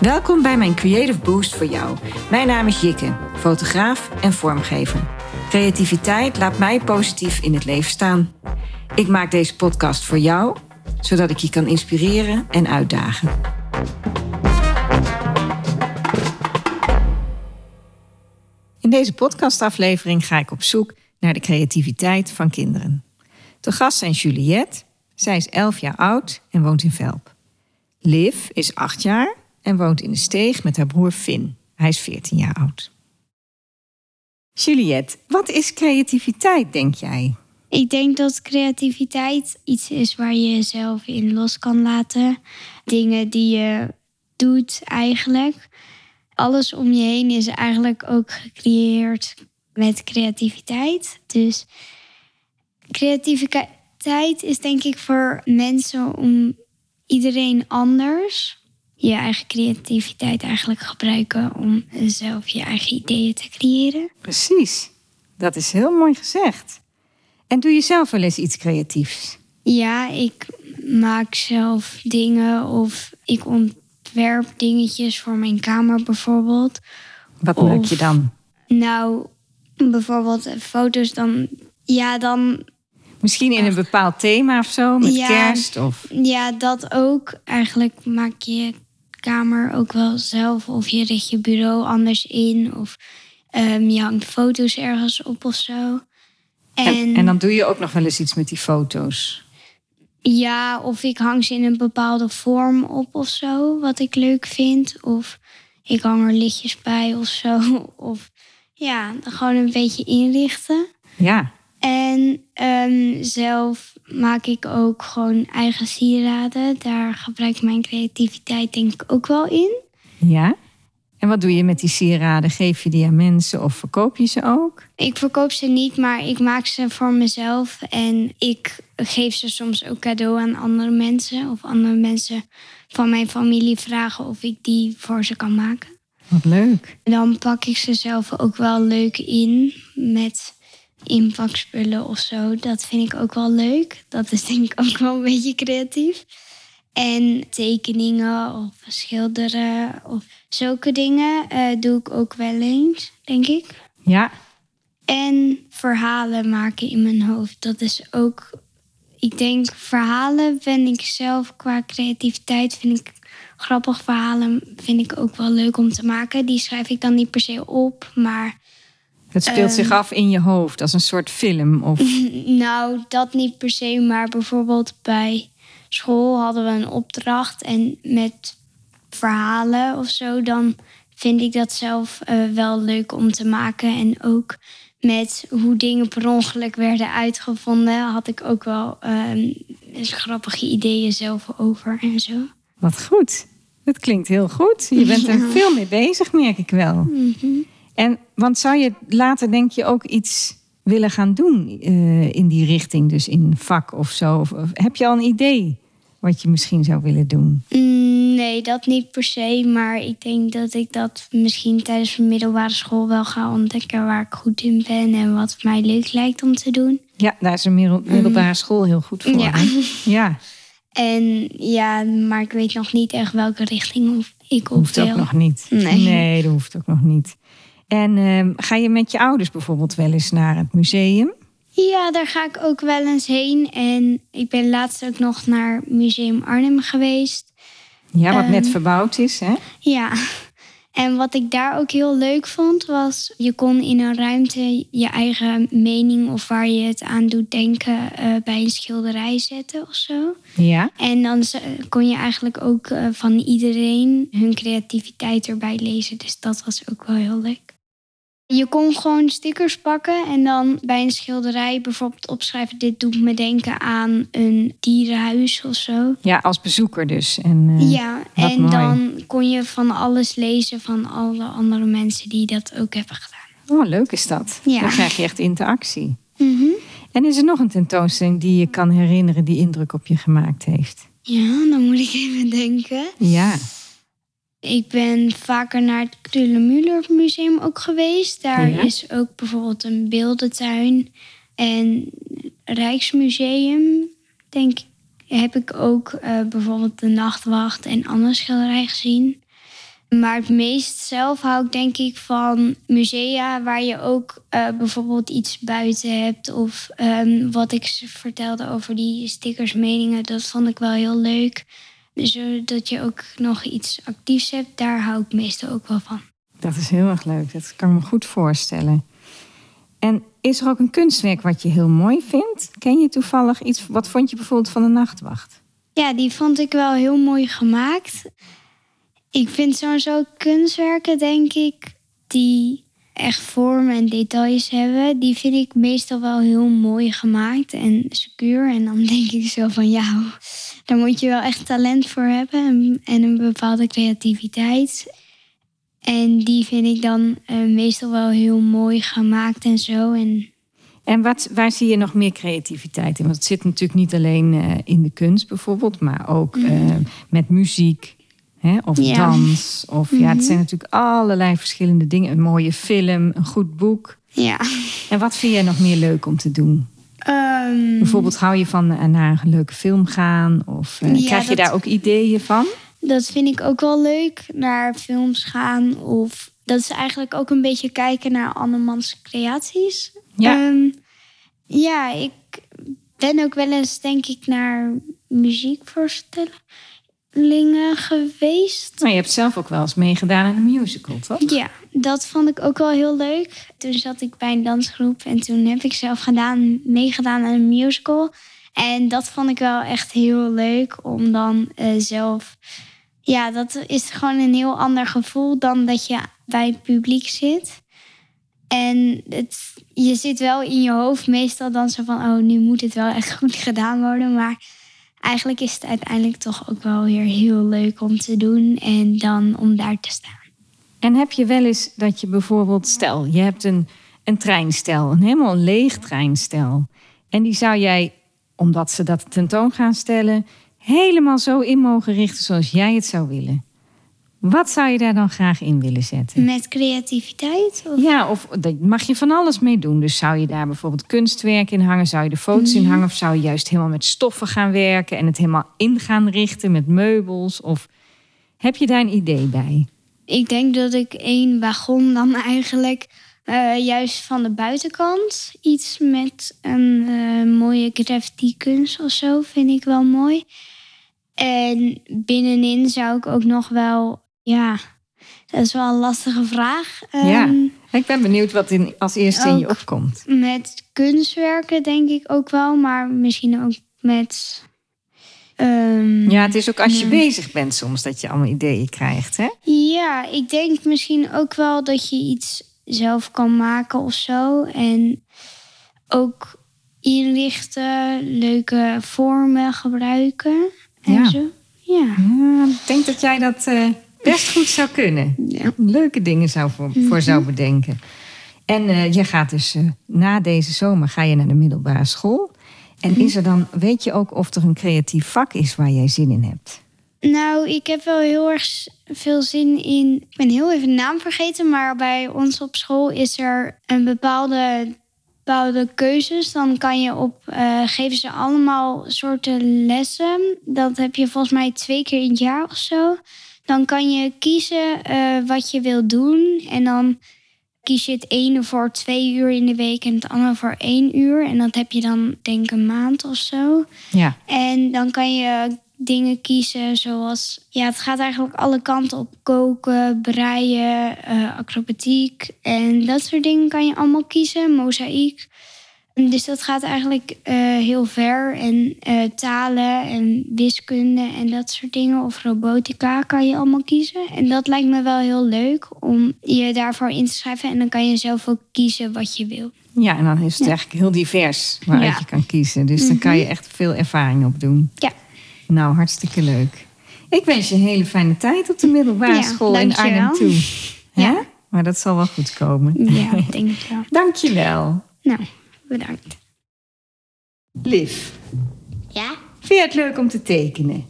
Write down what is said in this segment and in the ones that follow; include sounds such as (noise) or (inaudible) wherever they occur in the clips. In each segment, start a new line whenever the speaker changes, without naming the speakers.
Welkom bij mijn Creative Boost voor jou. Mijn naam is Jikke, fotograaf en vormgever. Creativiteit laat mij positief in het leven staan. Ik maak deze podcast voor jou, zodat ik je kan inspireren en uitdagen. In deze podcastaflevering ga ik op zoek naar de creativiteit van kinderen. De gast zijn Juliette. Zij is 11 jaar oud en woont in Velp. Liv is 8 jaar en woont in de steeg met haar broer Finn. Hij is 14 jaar oud. Juliette, wat is creativiteit, denk jij?
Ik denk dat creativiteit iets is waar je jezelf in los kan laten. Dingen die je doet eigenlijk. Alles om je heen is eigenlijk ook gecreëerd met creativiteit. Dus creativiteit is denk ik voor mensen om iedereen anders je eigen creativiteit eigenlijk gebruiken om zelf je eigen ideeën te creëren.
Precies, dat is heel mooi gezegd. En doe je zelf wel eens iets creatiefs?
Ja, ik maak zelf dingen of ik ontwerp dingetjes voor mijn kamer bijvoorbeeld.
Wat
Of-
maak je dan?
Nou, bijvoorbeeld eh, foto's dan. Ja, dan.
Misschien in een bepaald thema of zo, met
Ja.
kerst? Of...
Ja, dat ook. Eigenlijk maak je je kamer ook wel zelf. Of je richt je bureau anders in. Of ehm, je hangt foto's ergens op of zo.
En... En, dan doe je ook nog wel eens iets met die foto's.
Ja, of ik hang ze in een bepaalde vorm op of zo, wat ik leuk vind. Of ik hang er liedjes bij of zo. (laughs) Of ja, dan gewoon een beetje inrichten.
Ja,
En ehm, zelf maak ik ook gewoon eigen sieraden. Daar gebruik ik mijn creativiteit denk ik ook wel in.
ja. En wat doe je met die sieraden? Geef je die aan mensen of verkoop je ze ook?
Ik verkoop ze niet, maar ik maak ze voor mezelf. En ik geef ze soms ook cadeau aan andere mensen. Of andere mensen van mijn familie vragen of ik die voor ze kan maken.
Wat leuk.
Dan pak ik ze zelf ook wel leuk in met inpakspullen of zo. Dat vind ik ook wel leuk. Dat is denk ik ook wel een beetje creatief. En tekeningen of schilderen of zulke dingen eh, doe ik ook wel eens, denk ik.
Ja,
En verhalen maken in mijn hoofd. Dat is ook, ik denk, verhalen ben ik zelf qua creativiteit vind ik grappig. Verhalen vind ik ook wel leuk om te maken. Die schrijf ik dan niet per se op, maar
dat speelt
Ehm.
zich af in je hoofd als een soort film. Of...
Nou, dat niet per se, maar bijvoorbeeld bij school hadden we een opdracht en met verhalen of zo, dan vind ik dat zelf eh, wel leuk om te maken. En ook met hoe dingen per ongeluk werden uitgevonden, had ik ook wel ehm, eens grappige ideeën zelf over en zo.
Wat goed. Dat klinkt heel goed. Je bent er veel mee bezig, merk ik wel.
Mhm.
En want zou je later denk je ook iets willen gaan doen eh, in die richting, dus in een vak of zo? Of, of heb je al een idee wat je misschien zou willen doen?
Mm, Nee, dat niet per se, maar ik denk dat ik dat misschien tijdens mijn middelbare school wel ga ontdekken waar ik goed in ben en wat mij leuk lijkt om te doen.
Ja, daar is een middel- middelbare school heel goed voor.
Mhm. Ja.
hè? ja.
En ja, maar ik weet nog niet echt welke richting of ik op
Hoeft ook
wil.
nog niet.
Nee.
dat hoeft ook nog niet. En ehm, ga je met je ouders bijvoorbeeld wel eens naar het museum?
Ja, daar ga ik ook wel eens heen. En ik ben laatst ook nog naar Museum Arnhem geweest.
Ja, wat net
Ehm.
verbouwd is, hè?
Ja. (laughs) En wat ik daar ook heel leuk vond, was je kon in een ruimte je eigen mening of waar je het aan doet denken eh, bij een schilderij zetten of zo.
Ja.
En dan z- kon je eigenlijk ook eh, van iedereen hun creativiteit erbij lezen. Dus dat was ook wel heel leuk. Je kon gewoon stickers pakken en dan bij een schilderij bijvoorbeeld opschrijven: Dit doet me denken aan een dierenhuis of zo.
Ja, als bezoeker dus. En, eh,
Ja,
wat
en
mooi.
dan kon je van alles lezen van alle andere mensen die dat ook hebben gedaan.
Oh, leuk is dat.
Ja.
Dan krijg je echt interactie.
Mhm.
En is er nog een tentoonstelling die je kan herinneren die indruk op je gemaakt heeft?
Ja, dan moet ik even denken.
Ja.
Ik ben vaker naar het Krüller-Müller Museum ook geweest. Daar
Ja.
is ook bijvoorbeeld een beeldentuin en Rijksmuseum. Denk ik, heb ik ook eh, bijvoorbeeld de Nachtwacht en andere schilderij gezien. Maar het meest zelf hou ik denk ik van musea waar je ook eh, bijvoorbeeld iets buiten hebt. Of ehm, wat ik ze vertelde over die stickersmeningen, dat vond ik wel heel leuk. Zodat je ook nog iets actiefs hebt, daar hou ik meestal ook wel van.
Dat is heel erg leuk. Dat kan ik me goed voorstellen. En is er ook een kunstwerk wat je heel mooi vindt? Ken je toevallig iets? Wat vond je bijvoorbeeld van de nachtwacht?
Ja, die vond ik wel heel mooi gemaakt. Ik vind sowieso kunstwerken, denk ik, die echt vorm en details hebben, die vind ik meestal wel heel mooi gemaakt en secuur. En dan (laughs) denk ik zo van, ja, daar moet je wel echt talent voor hebben en- en een bepaalde creativiteit. En die vind ik dan eh, meestal wel heel mooi gemaakt en zo. En
En wat, waar zie je nog meer creativiteit in? Want het zit natuurlijk niet alleen eh, in de kunst bijvoorbeeld, maar ook eh, met muziek hè, of
Mm. Ja. Mm-hmm.
dans. Of ja, het zijn natuurlijk allerlei verschillende dingen. Een mooie film, een goed boek.
ja.
En wat vind jij nog meer leuk om te
Mm.
doen?
Ehm,
Bijvoorbeeld hou je van eh, naar een leuke film gaan? Of eh,
Ja,
krijg je
dat-
daar ook ideeën van?
Dat vind ik ook wel leuk. Naar films gaan of... Dat is eigenlijk ook een beetje kijken naar andermans creaties.
Ja.
Ehm, ja, ik ben ook wel eens denk ik naar muziekvoorstellingen geweest.
Maar Nou, je hebt zelf ook wel eens meegedaan aan een musical, toch?
Ja, dat vond ik ook wel heel leuk. Toen zat ik bij een dansgroep en toen heb ik zelf gedaan, meegedaan aan een musical. En dat vond ik wel echt heel leuk om dan eh, zelf. Ja, dat is gewoon een heel ander gevoel dan dat je bij het publiek zit. En het, je zit wel in je hoofd meestal dan zo van, oh, nu moet het wel echt (laughs) goed gedaan worden. Maar eigenlijk is het uiteindelijk toch ook wel weer heel leuk om te doen en dan om daar te staan.
En heb je wel eens dat je bijvoorbeeld, stel, je hebt een, een treinstel, een helemaal leeg treinstel. En die zou jij, omdat ze dat tentoon gaan stellen, helemaal zo in mogen richten zoals jij het zou willen. Wat zou je daar dan graag in willen zetten?
Met creativiteit? Of?
Ja, of daar mag je van alles mee doen. Dus zou je daar bijvoorbeeld kunstwerk in hangen? Zou je er foto's in hangen? Of zou je juist helemaal met stoffen gaan werken en het helemaal in gaan richten met meubels? Of heb je daar een idee bij?
Ik denk dat ik één wagon dan eigenlijk eh, juist van de buitenkant iets met een eh, mooie graffiti kunst of zo vind ik wel mooi. En binnenin zou ik ook nog wel, ja, dat is wel een lastige vraag.
Ja.
Ehm,
Ik ben benieuwd wat in, als eerste in je
Ook.
opkomt.
Met kunstwerken denk ik ook wel, maar misschien ook met. ehm,
Ja, het is ook als je bezig bent soms dat je allemaal ideeën krijgt. Hè?
Ja, ik denk misschien ook wel dat je iets zelf kan maken of zo. En ook inrichten, leuke vormen gebruiken en
Ja.
zo. Ja.
Ja, ik denk dat jij dat eh, best goed zou kunnen.
Ja. Mm-hmm.
Leuke dingen zou voor, voor zou bedenken. En eh, je gaat dus eh, na deze zomer ga je naar de middelbare school. En
Mm-hmm.
is er dan, weet je ook of er een creatief vak is waar jij zin in hebt?
Nou, ik heb wel heel erg s- veel zin in. Ik ben heel even de naam vergeten, maar bij ons op school is er een bepaalde, bepaalde keuzes. Dan kan je op, eh, geven ze allemaal soorten lessen. Dat heb je volgens mij twee keer in het jaar of zo. Dan kan je kiezen eh, wat je wilt doen. En dan kies je het ene voor twee uur in de week en het andere voor één uur. En dat heb je dan denk ik een maand of zo.
Ja.
En dan kan je dingen kiezen zoals... Ja, het gaat eigenlijk alle kanten op. Koken, breien, eh, acrobatiek. En dat soort dingen kan je allemaal kiezen. Mozaïek. En Dus dat gaat eigenlijk eh, heel ver. En eh, talen en wiskunde en dat soort dingen. Of robotica kan je allemaal kiezen. En dat lijkt me wel heel leuk om je daarvoor in te schrijven. En dan kan je zelf ook kiezen wat je wil.
Ja, en dan is het eigenlijk heel divers waaruit
Ja. Mhm.
je kan kiezen. Dus dan kan je echt veel ervaring opdoen.
Ja,
Nou, hartstikke leuk. Ik wens je een hele fijne tijd op de middelbare
Ja,
school in
dankjewel.
Arnhem toe. Hè?
Ja. Mhm.
Maar dat zal wel goed komen.
ja ik denk het wel.
Dankjewel.
Nou, bedankt.
Liv,
Ja?
vind je het leuk om te tekenen?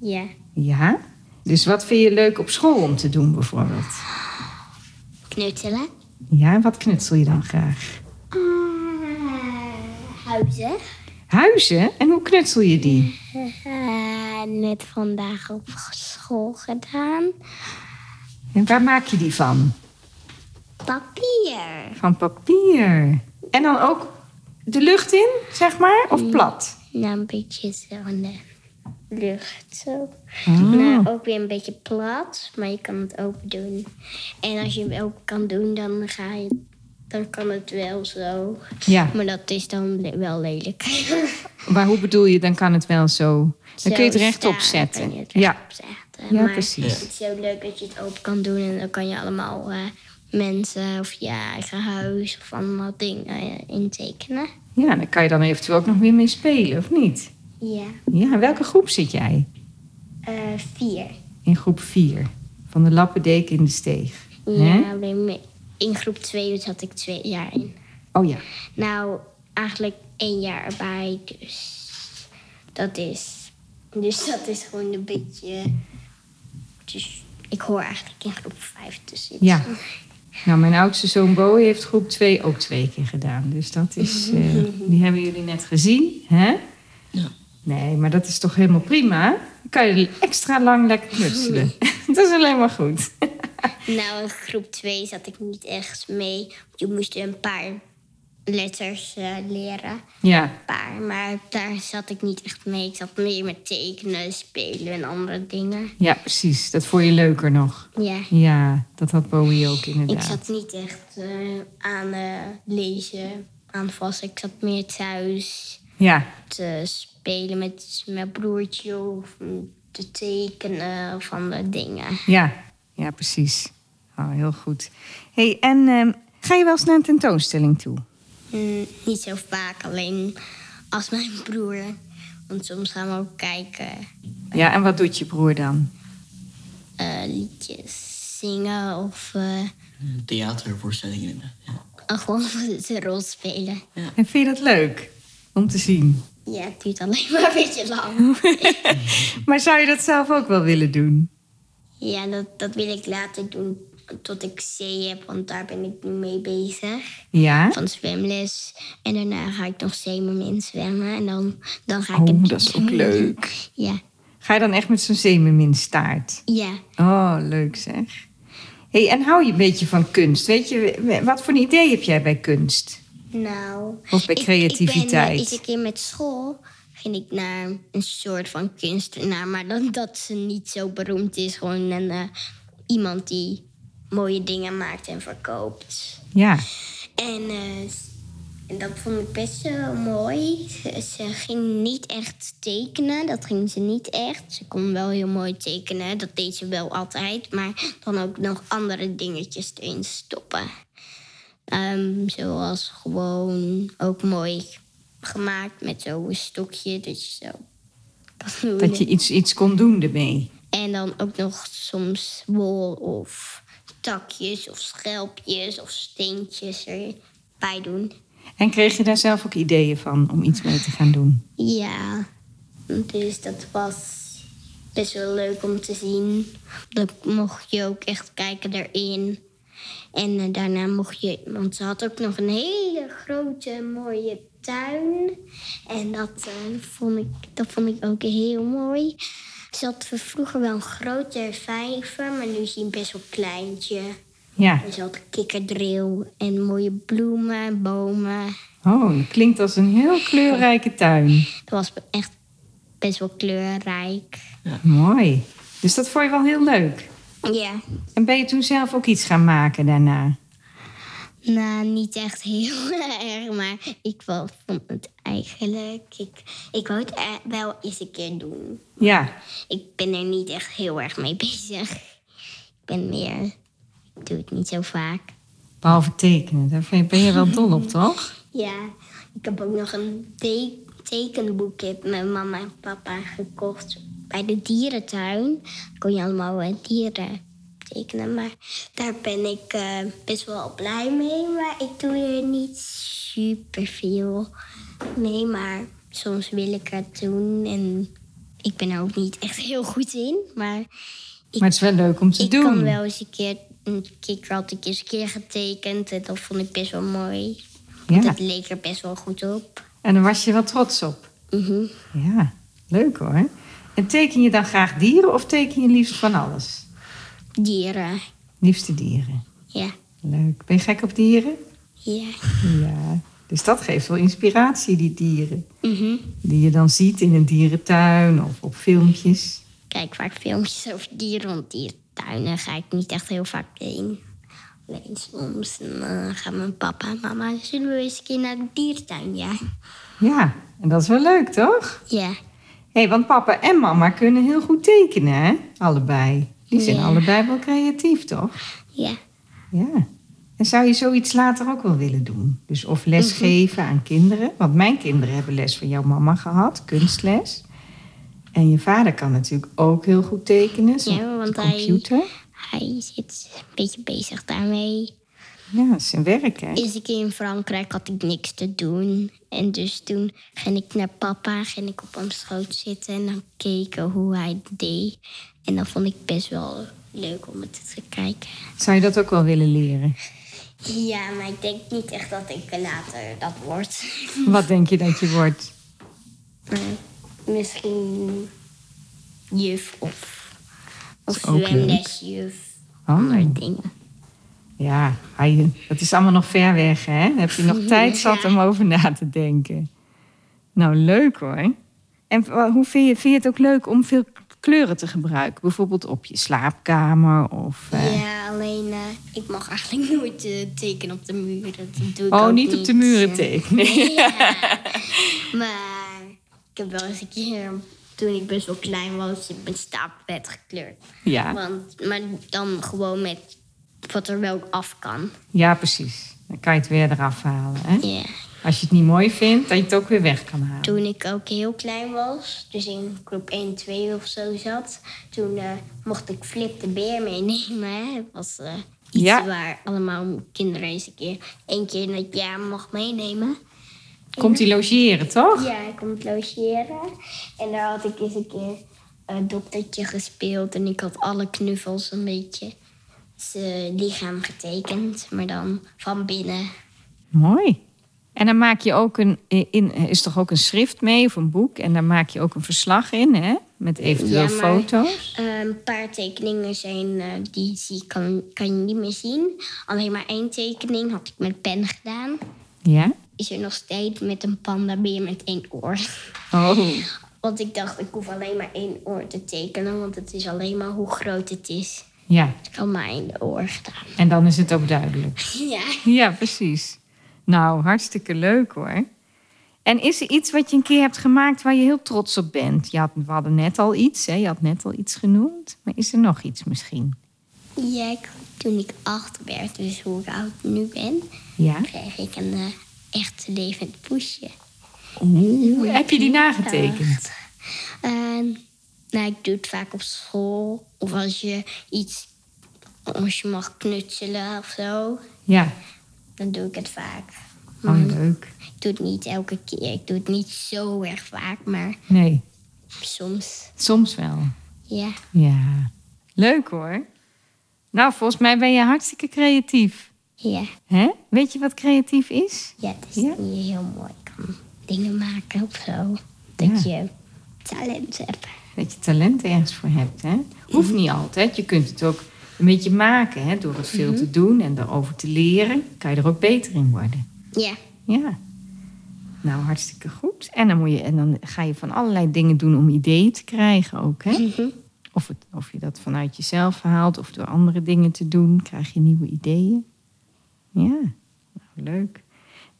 Ja.
Ja? Dus wat vind je leuk op school om te doen bijvoorbeeld?
Knutselen.
Ja, en wat knutsel je dan graag?
Ah, huizen.
Huizen? En hoe knutsel je die?
Eh, net vandaag op school gedaan.
En waar maak je die van?
Papier.
Van papier. En dan ook de lucht in, zeg maar, of plat?
Nou, een beetje zo in de lucht zo.
Ah.
Nou, ook weer een beetje plat, maar je kan het open doen. En als je hem open kan doen, dan ga je... Dan kan het wel zo.
Ja,
Maar dat is dan le- wel lelijk. (laughs)
maar hoe bedoel je, dan kan het wel zo. Dan
Zo
kun je het rechtop
staan, dan
zetten.
kun je het
Ja,
rechtop zetten.
Ja,
maar
precies.
Het is zo leuk dat je het open kan doen en dan kan je allemaal eh, mensen of je eigen huis of allemaal dingen eh, intekenen.
ja, dan kan je dan eventueel ook nog weer mee spelen, of niet?
Ja,
Ja, in welke groep zit jij?
Eh, vier.
In groep 4. Van de lappendeken in de steeg. Hè?
Ja, alleen me- in groep twee zat ik twee jaar in.
Oh ja.
Nou, eigenlijk één jaar erbij, dus dat is. Dus dat is gewoon een beetje. Dus ik hoor eigenlijk in groep vijf dus te zitten.
Ja. Nou, mijn oudste zoon Bo heeft groep 2 ook twee keer gedaan. Dus dat is. eh, die hebben jullie net gezien, hè? Ja. Nee, maar dat is toch helemaal prima? Dan kan je extra lang lekker knutselen. (laughs) dat is alleen maar goed. (laughs)
Nou, in groep 2 zat ik niet echt mee. Want Je moest een paar letters eh, leren. Een
Ja,
paar, maar daar zat ik niet echt mee. Ik zat meer met tekenen, spelen en andere dingen.
ja, precies. Dat vond je leuker nog.
Ja.
Ja, dat had Bowie ook
Ik
inderdaad.
zat niet echt eh, aan eh, lezen, aan vast. Ik zat meer thuis
Ja,
te spelen met mijn broertje of mm, te tekenen van de dingen.
ja, ja, precies. Oh, heel goed. hey, en ehm, ga je wel eens naar een tentoonstelling toe?
Mm, niet zo vaak, alleen als mijn broer. Want soms gaan we ook kijken.
Ja, en wat doet je broer dan?
eh, liedjes zingen of eh,
theatervoorstellingen. Ja.
gewoon (laughs) de rol spelen.
En vind je dat leuk om te zien?
Ja, het duurt alleen maar een beetje lang.
(laughs) Maar zou je dat zelf ook wel willen doen?
Ja, dat, dat wil ik later doen tot ik C heb, want daar ben ik nu mee bezig.
Ja?
Van zwemles. En daarna ga ik nog zeemermin in zwemmen. En dan, dan ga ik
Oh,
het
dat is ook leuk.
Ja,
Ga je dan echt met zo'n zeemerminstaart?
ja.
Oh, leuk zeg. hey, en hou je een beetje van kunst? Weet je, wat voor een idee heb jij bij kunst?
Nou.
Of bij
ik- Ik ben eh,
creativiteit?
eens een keer met school ging ik naar een soort van kunstenaar. Maar dan dat ze niet zo beroemd is. Gewoon een, eh, iemand die mooie dingen maakt en verkoopt.
Ja,
En, eh, s- en dat vond ik best wel mooi. Ze, ze ging niet echt tekenen. Dat ging ze niet echt. Ze kon wel heel mooi tekenen. Dat deed ze wel altijd. Maar dan ook nog andere dingetjes erin stoppen. Ehm, zoals gewoon ook mooi gemaakt met zo'n stokje. Dat je zo kan doen.
dat je iets, iets kon doen ermee.
En dan ook nog soms wol of takjes of schelpjes of steentjes erbij doen.
En kreeg je daar zelf ook ideeën van om iets mee te gaan doen?
Ja, dus dat was best wel leuk om te zien. Dan mocht je ook echt kijken daarin. En eh, daarna mocht je, want ze had ook nog een hele grote mooie tuin. En dat, eh, vond, ik, dat vond ik ook heel mooi. Ze had vroeger wel een grote vijver, maar nu is hij best wel kleintje.
Ja,
En ze had kikkerdril en mooie bloemen en bomen.
oh, dat klinkt als een heel kleurrijke tuin.
Het was echt best wel kleurrijk.
Mooi. Dus dat vond je wel heel leuk.
Ja.
En ben je toen zelf ook iets gaan maken daarna?
Nou, niet echt heel (laughs) erg, maar ik wel vond het eigenlijk... Ik, ik wou het eh, wel eens een keer doen.
Ja,
Ik ben er niet echt heel erg mee (laughs) bezig. Ik ben meer... Ik doe het niet zo vaak.
behalve tekenen. Daar vind- ben je wel dol op, toch?
Ja, ik heb ook nog een te- tekenboek heb met mama en papa gekocht bij de dierentuin. Kon je allemaal eh, dieren tekenen, maar daar ben ik eh, best wel blij mee. Maar ik doe er niet super veel mee, maar soms wil ik het doen en ik ben er ook niet echt heel goed in, maar
Maar het is wel leuk om te
ik
doen.
kan wel eens een keer een kikker had ik eens een keer getekend en dat vond ik best wel mooi.
Ja.
Dat leek er best wel goed op.
En daar was je wel trots op.
Mhm.
Ja, leuk hoor. En teken je dan graag dieren of teken je liefst van alles?
Dieren.
Liefste dieren.
Ja.
Leuk. Ben je gek op dieren?
Ja.
Ja. Dus dat geeft wel inspiratie, die dieren.
Mhm.
Die je dan ziet in een dierentuin of op filmpjes.
Kijk vaak filmpjes over dieren, want dierentuinen ga ik niet echt heel vaak heen. Alleen soms dan eh, gaan mijn papa en mama, zullen we eens een keer naar de dierentuin, ja?
Ja, en dat is wel leuk, toch?
Ja,
Hé, want papa en mama kunnen heel goed tekenen, hè? Allebei. Die zijn
Ja.
allebei wel creatief, toch?
ja.
Ja. En zou je zoiets later ook wel willen doen? Dus of lesgeven
Mhm.
aan kinderen? Want mijn kinderen hebben les van jouw mama gehad, kunstles. En je vader kan natuurlijk ook heel goed tekenen, zo'n
Ja, want hij-
computer.
Hij zit een beetje bezig daarmee.
Ja, dat is zijn werk, hè?
Eerst een keer in Frankrijk had ik niks te doen. En dus toen ging ik naar papa, ging ik op hem schoot zitten en dan keken hoe hij het deed. En dat vond ik best wel leuk om het te kijken.
Zou je dat ook wel willen leren?
Ja, maar ik denk niet echt dat ik later dat word.
Wat denk je dat je wordt?
Misschien juf of, of
is ook leuk.
zwemlesjuf.
Oh,
Andere dingen.
ja, hij- dat is allemaal nog ver weg, hè? Dan heb je
(laughs)
nog tijd zat om over na te denken. Nou, leuk hoor. En wa- hoe vind je, vind je het ook leuk om veel kleuren te gebruiken? Bijvoorbeeld op je slaapkamer of... eh,
Ja, alleen eh, ik mag eigenlijk (laughs) nooit eh, tekenen op de muren. Dat doe ik
Oh,
ook
niet op de muren tekenen.
Maar ik heb wel eens een keer, toen ik best wel klein was, mijn stapelbed gekleurd.
Ja,
Want, maar dan gewoon met wat er wel af kan.
(laughs) ja, precies. Dan kan je het weer eraf halen, hè?
Ja.
Als je het niet mooi vindt, dat je het ook weer weg kan halen.
Toen ik ook heel klein was, dus in groep 1, 2 of zo zat, toen eh, mocht ik Flip de Beer meenemen. Hè. Het was eh, iets
Ja.
waar allemaal kinderen eens een keer, één keer in het jaar mag meenemen.
Komt hij logeren, toch?
Ja, ik kon het logeren. En daar had ik eens een keer een doktertje gespeeld. En ik had alle knuffels een beetje zijn lichaam getekend. Maar dan van binnen.
Mooi. En dan maak je ook een, in, is toch ook een schrift mee of een boek. En daar maak je ook een verslag in, hè? Met eventueel
Ja, maar-
foto's.
Eh, een paar tekeningen zijn, eh, die zie, kan, kan je niet meer zien. Alleen maar één tekening had ik met pen gedaan.
Ja?
Is er nog steeds met een pandabeer met één oor. (laughs)
Oh.
Want ik dacht, ik hoef alleen maar één oor te tekenen. Want het is alleen maar hoe groot het is.
Ja,
Ik had maar één oor gedaan.
en dan is het ook duidelijk.
(laughs) Ja.
(laughs) Ja, precies. Nou, hartstikke leuk hoor. En is er iets wat je een keer hebt gemaakt waar je heel trots op bent? Je had, we hadden net al iets, hè? je had net al iets genoemd. Maar is er nog iets misschien?
Ja, ik- toen ik acht werd, dus hoe ik oud nu ben,
Ja?
kreeg ik een eh, echt levend poesje.
Oeh, heb je die nagetekend?
En, nou, ik doe het vaak op school. Of als je iets, als je mag knutselen of zo,
Ja,
dan doe ik het vaak.
oh, leuk.
Ik doe het niet elke keer, ik doe het niet zo erg vaak, maar
Nee,
soms,
soms wel.
ja.
Ja, leuk hoor. Nou, volgens mij ben je hartstikke creatief.
Ja,
Hè? Weet je wat creatief is?
ja het is
Ja?
niet heel mooi. Ik kan dingen maken of zo. Dat je talent hebt.
Dat je talent ergens voor hebt. Hè? Hoeft niet altijd. Je kunt het ook een beetje maken hè? door het veel te doen en erover te leren. Kan je er ook beter in worden.
Ja,
Ja. Nou, hartstikke goed. En dan, moet je, en dan ga je van allerlei dingen doen om ideeën te krijgen ook. Hè? Of, het, of je dat vanuit jezelf haalt of door andere dingen te doen, krijg je nieuwe ideeën. Ja, nou, leuk.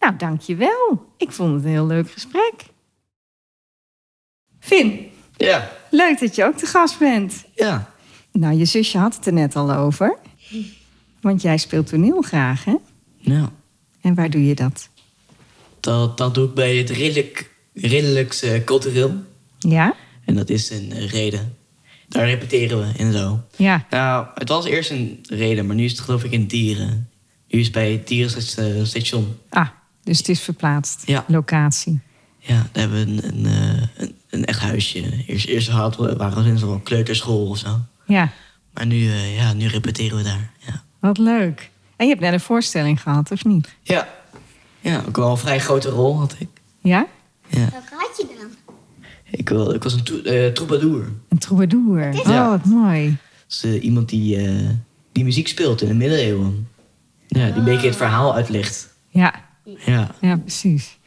Nou, dankjewel. Ik vond het een heel leuk gesprek. Finn,
Ja.
leuk dat je ook te gast bent.
Ja.
Nou, je zusje had het er net al over. Want jij speelt toneel graag, hè?
Nou,
En waar doe je dat?
dat, dat doe ik bij het redelijk, redelijks eh, cultureel.
Ja?
En dat is een eh, reden. Daar repeteren we en zo.
Ja.
Nou, het was eerst een reden, maar nu is het geloof ik in dieren. Nu is het bij het dierenstation.
Ah, dus het is verplaatst.
Ja.
Locatie.
Ja, daar hebben we een, een, eh, een, een echt huisje. Eerst, eerst hadden we, waren we in zo'n kleuterschool of zo.
Ja,
Maar nu, eh, ja, nu repeteren we daar. Ja.
wat leuk. En je hebt net een voorstelling gehad, of niet?
ja. Ja, ook wel een vrij grote rol had ik.
Ja?
Ja.
wat had je dan?
Ik, wel, ik was een to- eh, troubadour.
Een troubadour.
Ja.
Oh, wat mooi.
Dus eh, iemand die eh, die muziek speelt in de middeleeuwen. Ja, die een beetje het verhaal uitlegt.
Ja,
Ja.
ja precies.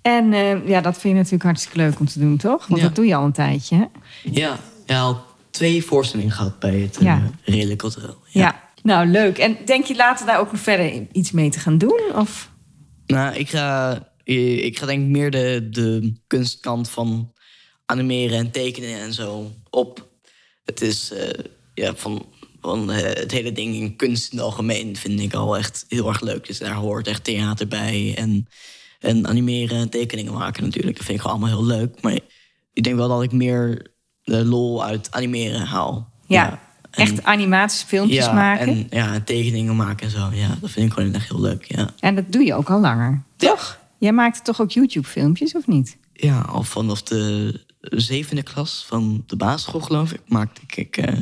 En eh, ja, dat vind je natuurlijk hartstikke leuk om te doen, toch? Want
Ja.
dat doe je al een tijdje, hè?
Ja, ja al twee voorstellingen gehad bij het eh,
Ja.
Redelijk Cultureel.
Ja. Nou, leuk. En denk je later daar ook nog verder iets mee te gaan doen? Of?
Nou, ik ga, eh, ik ga denk ik meer de, de kunstkant van animeren en tekenen en zo op. Het is eh, ja, van, van eh, het hele ding in kunst in het algemeen vind ik al echt heel erg leuk. Dus daar hoort echt theater bij en, en animeren en tekeningen maken natuurlijk. Dat vind ik gewoon allemaal heel leuk. Maar ik denk wel dat ik meer de lol uit animeren haal.
Ja,
en-
echt animatiefilmpjes
ja,
maken. En...
En, ja, en tekeningen maken en zo. Ja, dat vind ik gewoon echt heel leuk. Ja.
dat doe je ook al langer.
Toch?
Jij maakte toch ook YouTube-filmpjes, of niet?
Ja, al vanaf de zevende klas van de basisschool, geloof ik, maakte ik, ik, eh,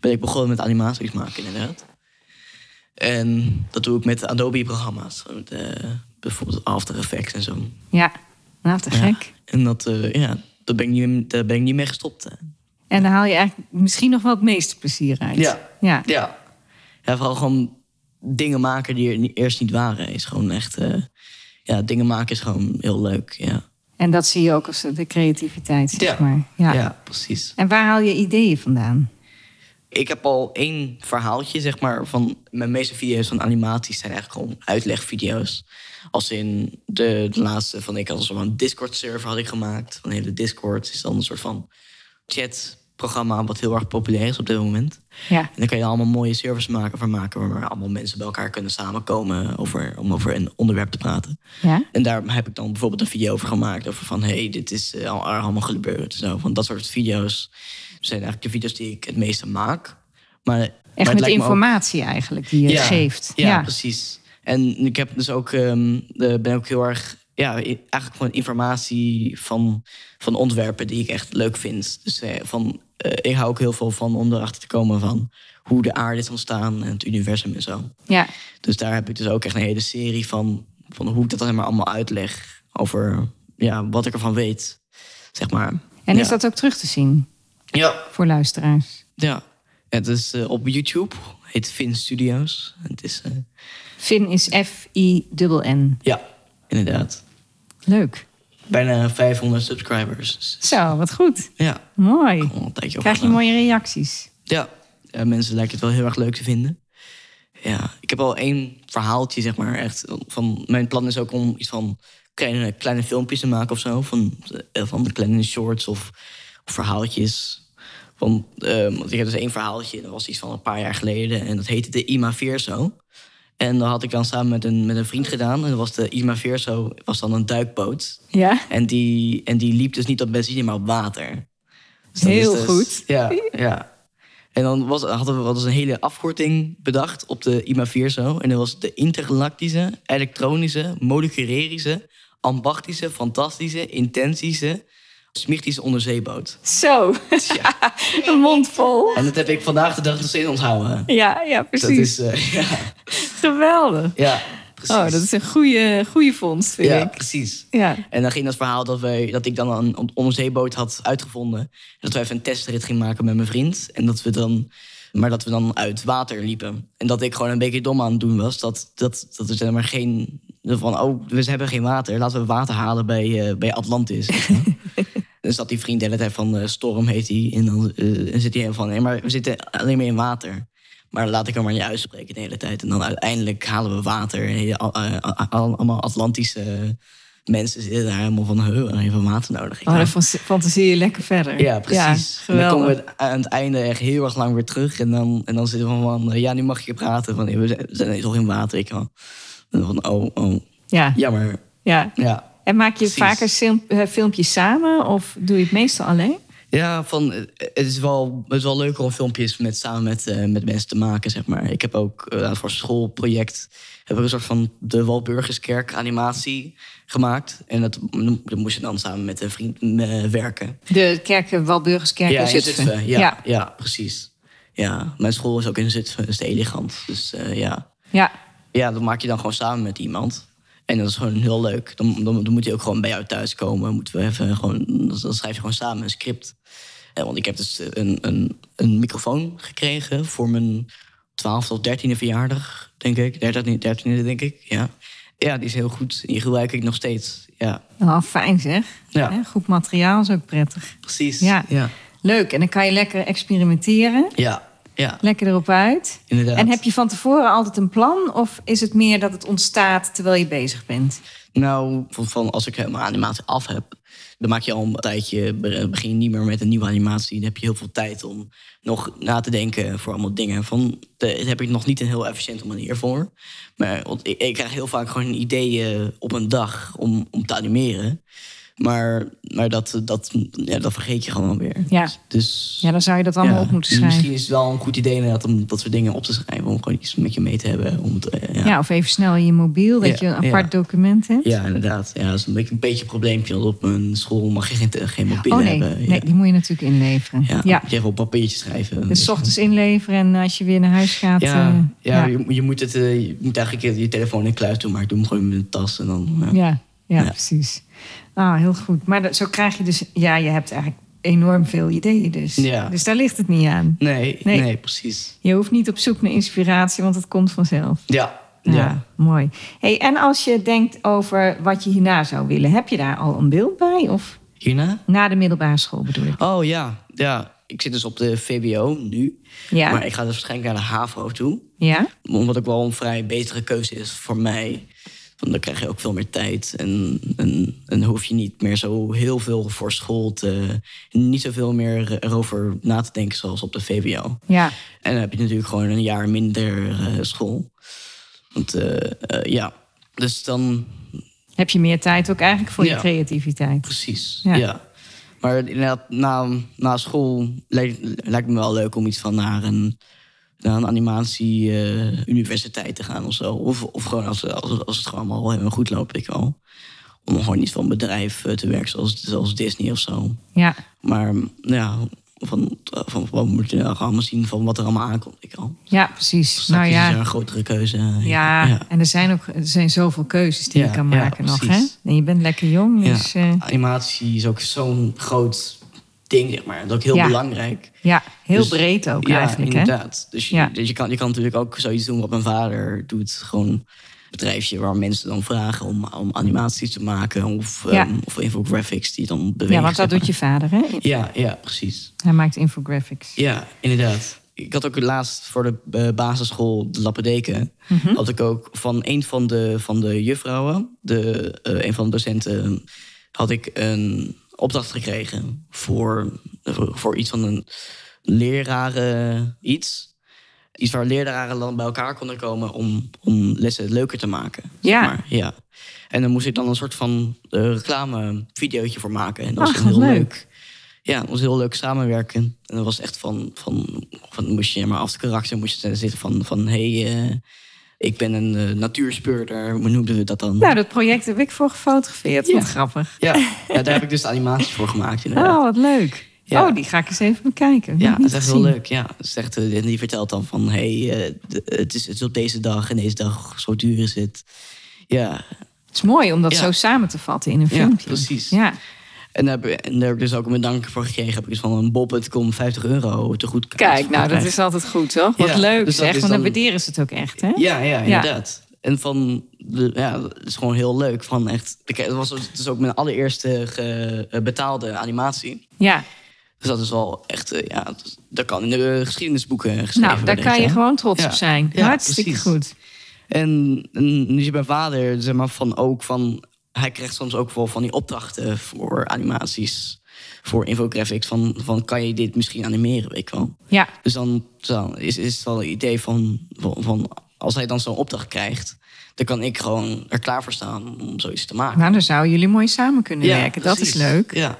ben ik begonnen met animaties maken, inderdaad. En dat doe ik met Adobe-programma's. Met, eh, bijvoorbeeld After Effects en zo.
Ja, nou te
Ja.
gek.
En dat, eh, ja, daar, ben ik niet, daar ben ik niet mee gestopt. hè.
En daar haal je eigenlijk misschien nog wel het meeste plezier uit.
Ja.
ja.
Ja. ja. Vooral gewoon dingen maken die er ni- eerst niet waren. Is gewoon echt... eh, ja, dingen maken is gewoon heel leuk, ja.
En dat zie je ook als de creativiteit, zeg maar. Ja.
ja precies.
En waar haal je ideeën vandaan?
ik heb al één verhaaltje, zeg maar, van mijn meeste video's van animaties zijn eigenlijk gewoon uitlegvideo's. Als in de, de laatste van ik had een soort van Discord-server had ik gemaakt. Van de hele Discord is dan een soort van chatprogramma wat heel erg populair is op dit moment.
Ja.
En dan kan je er allemaal mooie servers maken van maken waar allemaal mensen bij elkaar kunnen samenkomen over, om over een onderwerp te praten.
Ja?
En daar heb ik dan bijvoorbeeld een video over gemaakt. Over van, hé, hey, dit is eh, al allemaal gebeurd. Zo, van dat soort video's zijn eigenlijk de video's die ik het meeste maak. Maar, maar het
Echt
lijkt
met
me ook-
informatie eigenlijk die je geeft.
ja, precies. En ik heb dus ook, ehm, eh, ben ook heel erg, ja, i- eigenlijk gewoon informatie van, van ontwerpen die ik echt leuk vind. Dus eh, van, eh, ik hou ook heel veel van om erachter te komen van hoe de aarde is ontstaan en het universum en zo.
ja.
Dus daar heb ik dus ook echt een hele serie van, van hoe ik dat dan maar allemaal uitleg. Over ja, wat ik ervan weet, zeg maar.
En is
Ja.
dat ook terug te zien
Ja.
voor luisteraars?
ja. Het is eh, op YouTube, heet Vin Studios. Het is, eh,
Finn is F-I-N-N.
ja, inderdaad.
Leuk.
Bijna 500 subscribers. Dus,
Zo, wat goed.
ja,
Mooi.
al een tijdje
Krijg je
opgedaan.
mooie reacties?
Ja, Eh, mensen lijken het wel heel erg leuk te vinden. Ja, ik heb al één verhaaltje, zeg maar, echt. Van, mijn plan is ook om iets van kleine, kleine filmpjes te maken of zo. Van, eh, van kleine shorts of, of verhaaltjes. Want, ehm, want ik heb dus één verhaaltje, dat was iets van een paar jaar geleden. En dat heette de Ima Vierzo. En dat had ik dan samen met een, met een vriend gedaan. En dat was de Ima Vierzo, was dan een duikboot.
Ja?
En die, en die liep dus niet op benzine, maar op water. Dus dat
Heel
is dus-
goed.
Ja, ja. En dan was, hadden we wel eens een hele afkorting bedacht op de IMA 4 zo. En dat was de intergalactische, elektronische, molecularische, ambachtische, fantastische, intensische, smichtische onderzeeboot.
Zo. (laughs) Een mond vol.
En dat heb ik vandaag de dag dus nog steeds onthouden.
Ja, ja,
Dat
precies.
is, eh, ja,
Geweldig.
ja, precies.
Oh, dat is een goede, goede vondst, vind
ja,
ik.
precies.
Ja.
En dan ging dat verhaal dat, wij, dat ik dan een on- onderzeeboot had uitgevonden. Dat we even een testrit gingen maken met mijn vriend. En dat we dan, maar dat we dan uit water liepen. En dat ik gewoon een beetje dom aan het doen was. Dat, dat, dat er zeg maar geen. Van, oh, we hebben geen water. Laten we water halen bij, eh, bij Atlantis. Dus dat die vriend de hele tijd van eh, Storm heet hij. En dan eh, zit hij helemaal van, nee, maar we zitten alleen maar in water. Maar laat ik hem maar niet uitspreken de hele tijd. En dan uiteindelijk halen we water. En hele- al- eh, al- al- allemaal Atlantische mensen zitten daar helemaal van, huh, we hebben water nodig. Ik
Oh,
dacht,
dan fant- fantaseer je lekker verder.
ja, precies. en
geweldig.
dan komen we het- aan het einde echt heel erg lang weer terug. En dan, en dan zitten we van, eh, ja, nu mag je praten. Van, eh, we zijn- we zijn toch in water, ik wel. En dan van, oh, oh,
Ja,
jammer.
ja.
Ja,
En maak je
Precies.
vaker sim- eh, filmpjes samen of doe je het meestal alleen?
Ja, van, eh, het, is wel, het is wel leuker om filmpjes met, samen met, eh, met mensen te maken, zeg maar. Ik heb ook eh, voor schoolproject heb ik een soort van de Walburgiskerk animatie gemaakt. En dat, dat moest je dan samen met een vriend eh, werken.
De kerken, Walburgerskerk
ja,
in
in
Zutphen.
Ja, ja.
ja.
precies. Ja, mijn school is ook in Zutphen, is te elegant. Dus eh, ja.
Ja.
ja, dat maak je dan gewoon samen met iemand. En dat is gewoon heel leuk. Dan, dan, dan moet hij ook gewoon bij jou thuis komen. Moeten we even gewoon, dan- dan schrijf je gewoon samen een script. Eh, want ik heb dus een, een, een microfoon gekregen voor mijn 12 of 13e verjaardag, denk ik. 13e, 13e denk ik, ja. Ja, die is heel goed. Die gebruik ik nog steeds, ja.
Nou, fijn zeg.
Ja.
Hè, Goed materiaal is ook prettig.
Precies.
Ja.
Ja,
Leuk. En dan kan je lekker experimenteren.
ja, ja
Lekker erop uit.
inderdaad.
En heb je van tevoren altijd een plan? Of is het meer dat het ontstaat terwijl je bezig bent?
Nou, van, van als ik eh, mijn animatie af heb, dan maak je al een tijdje, be- begin je niet meer met een nieuwe animatie. Dan heb je heel veel tijd om nog na te denken voor allemaal dingen. Van, de- daar heb ik nog niet een heel efficiënte manier voor. Maar want ik, ik krijg heel vaak gewoon een idee eh, op een dag om, om te animeren. Maar, maar dat, dat, ja, dat vergeet je gewoon weer.
Ja.
Dus,
Ja, dan zou je dat allemaal
ja,
op moeten
dus
schrijven.
Misschien is het wel een goed idee inderdaad om dat soort dingen op te schrijven. Om gewoon iets met je mee te hebben. Om te, eh, ja.
Ja. of even snel in je mobiel, dat
Ja,
je een
ja.
apart document hebt.
Ja, inderdaad. Ja, dat is een beetje een, beetje een probleempje. Want op mijn school mag je geen, geen mobiel
oh nee.
hebben. Ja.
nee, die moet je natuurlijk inleveren.
ja,
Ja,
moet je even op papiertje schrijven. Dus-
dus 's ochtends inleveren en als je weer naar huis gaat...
ja,
eh,
ja,
ja.
Je, je moet het, eh, je moet eigenlijk je, je telefoon in kluis doen, maar ik doe hem gewoon in mijn tas en dan. eh. Ja.
Ja, ja,
Ja.
precies. Ah, heel goed. Maar dat, zo krijg je dus... Ja, je hebt eigenlijk enorm veel ideeën dus.
Ja.
Dus daar ligt het niet aan.
Nee,
Nee.
nee, precies.
Je hoeft niet op zoek naar inspiratie, want het komt vanzelf.
Ja, ja.
Ja, mooi. Hey, en als je denkt over wat je hierna zou willen, heb je daar al een beeld bij? Of
Hierna?
na de middelbare school bedoel ik?
Oh ja, ja. Ik zit dus op de VWO nu.
Ja.
Maar ik ga dus waarschijnlijk naar de HAVO toe.
Ja?
Omdat ook wel een vrij betere keuze is voor mij. Want dan krijg je ook veel meer tijd. En, en, en hoef je niet meer zo heel veel voor school te. niet zoveel meer erover na te denken zoals op de VWO.
Ja.
En dan heb je natuurlijk gewoon een jaar minder eh, school. Want eh, eh, ja, dus dan
Heb je meer tijd ook eigenlijk voor je
Ja.
creativiteit?
precies.
Ja.
Ja. Maar inderdaad, na, na school lijkt, lijkt me wel leuk om iets van naar een, naar een animatie-universiteit te gaan of zo. Of, of gewoon als, als, als het gewoon allemaal helemaal goed loopt, weet ik wel. Om gewoon niet van een bedrijf eh, te werken zoals, zoals Disney of zo.
Ja.
Maar ja, van, van, van moet je nou allemaal zien van wat er allemaal aankomt, weet ik al.
Ja, precies.
Straks
nou
is
ja.
er een grotere keuze. eh,
Ja, en er zijn ook er zijn zoveel keuzes die je
Ja,
kan
ja,
maken nog. Hè?
precies.
En je bent lekker jong,
Ja,
dus eh,
Animatie is ook zo'n groot ding, zeg maar. Dat is ook heel
Ja.
belangrijk.
ja, heel
Dus-
breed ook
ja,
eigenlijk. Hè?
inderdaad. Dus, je,
Ja.
dus je, kan, je kan natuurlijk ook zoiets doen wat mijn vader doet. Gewoon een bedrijfje waar mensen dan vragen om, om animaties te maken. Of,
Ja.
ehm, of infographics die dan bewegen.
Ja, want dat
zeg
doet je vader, hè?
maar. Ja, ja, precies.
Hij maakt infographics.
Ja, inderdaad. Ik had ook laatst voor de eh, basisschool de Lappendeken...
Mhm.
had ik ook van een van de, van de juffrouwen, de, eh, een van de docenten... had ik een opdracht gekregen voor, voor iets van een leraren iets. Iets waar leraren dan bij elkaar konden komen om, om lessen leuker te maken. zeg
Ja.
maar. ja. En dan moest ik dan een soort van eh reclame-videootje voor maken. En dat was
Ach,
heel
wat leuk.
leuk. Ja, het was heel leuk samenwerken. En dat was echt van, van, van moest je maar af te karakter moest je zitten van, van hé, hey, eh, ik ben een eh, natuurspeurder, hoe noemden we dat dan?
Nou, dat project heb ik voor gefotografeerd. Wat
Ja.
grappig.
ja,
(laughs)
ja, daar heb ik dus de animatie voor gemaakt. Inderdaad.
Oh, wat leuk.
Ja.
Oh, die ga ik eens even bekijken.
Ja,
Niet
dat is echt heel
gezien.
leuk. Ja, Het is echt, eh, en die vertelt dan van, hé, hey, eh, d- het, is, het is op deze dag en deze dag, zo duur is het. Ja,
Het is mooi om dat
Ja.
zo samen te vatten in een
Ja,
filmpje.
precies.
Ja,
en daar, heb, en daar heb ik dus ook een bedanken voor gekregen. Heb ik dus van een bob.com 50 euro te goed
kijk, nou, dat is altijd goed, toch? Wat
Ja,
leuk
dus dat
zeg,
is
want dan
dan-
waarderen ze het ook echt, hè?
Ja, ja, inderdaad. En van, de- ja, het is gewoon heel leuk. Van echt, ik- het was dus ook mijn allereerste ge- eh, betaalde animatie.
Ja.
Dus dat is wel echt, eh, ja, dat- dat kan in de eh, geschiedenisboeken geschreven
Nou, daar
worden,
kan
weet
je
wel.
gewoon trots
Ja.
op zijn.
Ja,
Hartstikke
precies.
goed.
En, en nu zit mijn vader, zeg maar, van ook van... Hij krijgt soms ook wel van die opdrachten voor animaties, voor infographics. Van, van kan je dit misschien animeren, weet ik wel.
Ja,
Dus dan, dan is, is het wel een idee van, van, van als hij dan zo'n opdracht krijgt, dan kan ik gewoon er klaar voor staan om zoiets te maken.
nou, dan zouden jullie mooi samen kunnen
Ja,
werken. Dat is
precies.
leuk.
Ja,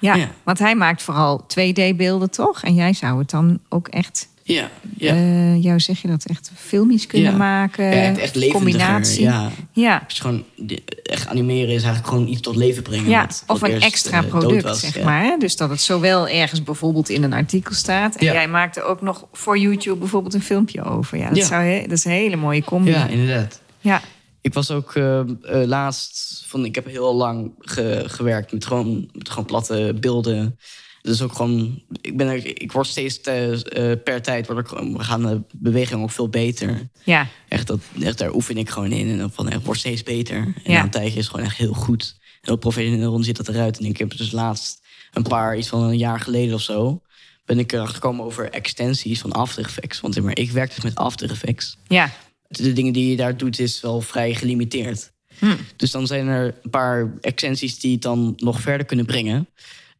Ja,
Ja.
want hij maakt vooral 2D-beelden, toch? En jij zou het dan ook echt,
ja, ja.
ja. jou zeg je dat, echt filmisch Eh, kunnen
Ja.
maken.
Ja, het echt levendiger,
combinatie.
ja.
ja.
Dus gewoon die- echt animeren is eigenlijk gewoon iets tot leven brengen.
Ja,
wat- wat
of een
eerst,
extra
eh, dood
product,
was,
zeg
ja.
maar. hè? Dus dat het zowel ergens bijvoorbeeld in een artikel staat. En
Ja.
jij maakt er ook nog voor YouTube bijvoorbeeld een filmpje over. Ja, dat,
Ja.
Zou, he- dat is een hele mooie combi.
Ja,
Ja,
inderdaad.
ja.
Ik was ook eh, eh, laatst van, ik heb heel lang ge- gewerkt met gewoon, met gewoon platte beelden. Dus ook gewoon, ik, ben er, ik word steeds eh, eh, per tijd, word ik, gewoon- we gaan de beweging ook veel beter.
Ja,
Echt, dat, echt, daar oefen ik gewoon in en dan van, het wordt steeds beter. En
Ja.
na een tijdje is het gewoon echt heel goed. En op professioneel rond ziet dat eruit. En ik heb dus laatst een paar, iets van een jaar geleden of zo... ben ik erachter gekomen over extensies van After Effects. Want zeg maar, ik werk dus met After Effects.
ja,
De dingen die je daar doet is wel vrij gelimiteerd.
Hm.
Dus dan zijn er een paar extensies die het dan nog verder kunnen brengen...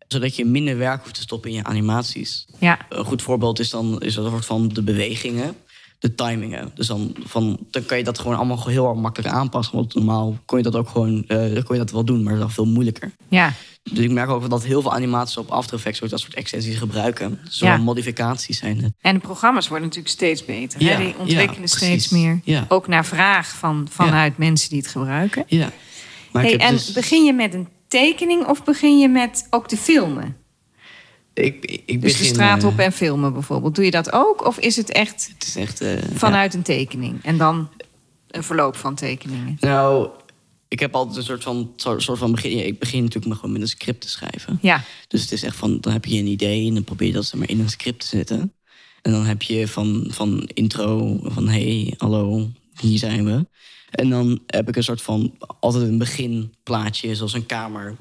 zodat je minder werk hoeft te stoppen in je animaties.
ja,
Een goed voorbeeld is dan is dat soort van de bewegingen, de timingen. Dus dan, van, dan kan je dat gewoon allemaal heel erg makkelijk aanpassen. Want normaal kon je dat ook gewoon, eh, dan kon je dat wel doen, maar dat is dan veel moeilijker.
ja.
Dus ik merk ook dat heel veel animaties op After Effects ook dat soort extensies gebruiken. Zowel
Ja.
modificaties zijn het.
En de programma's worden natuurlijk steeds beter.
Ja,
hè? Die ontwikkelen
ja,
steeds
precies.
meer.
Ja.
Ook naar vraag van, vanuit mensen die het gebruiken.
Ja. Maar
Hey,
ik, heb
en
dus-
begin je met een tekening of begin je met ook te filmen?
ik, ik begin,
Dus de straat
eh,
op en filmen bijvoorbeeld. Doe je dat ook? Of is het echt
Het is echt... eh, ja.
vanuit een tekening? En dan een verloop van tekeningen.
Nou, ik heb altijd een soort van, soort soort van begin... ja, ik begin natuurlijk maar gewoon met een script te schrijven.
Ja,
Dus het is echt van, dan heb je een idee en dan probeer je dat zeg maar in een script te zetten. En dan heb je van, van intro, van hey, hallo, hier zijn we. En dan heb ik een soort van, altijd een beginplaatje, zoals een kamer.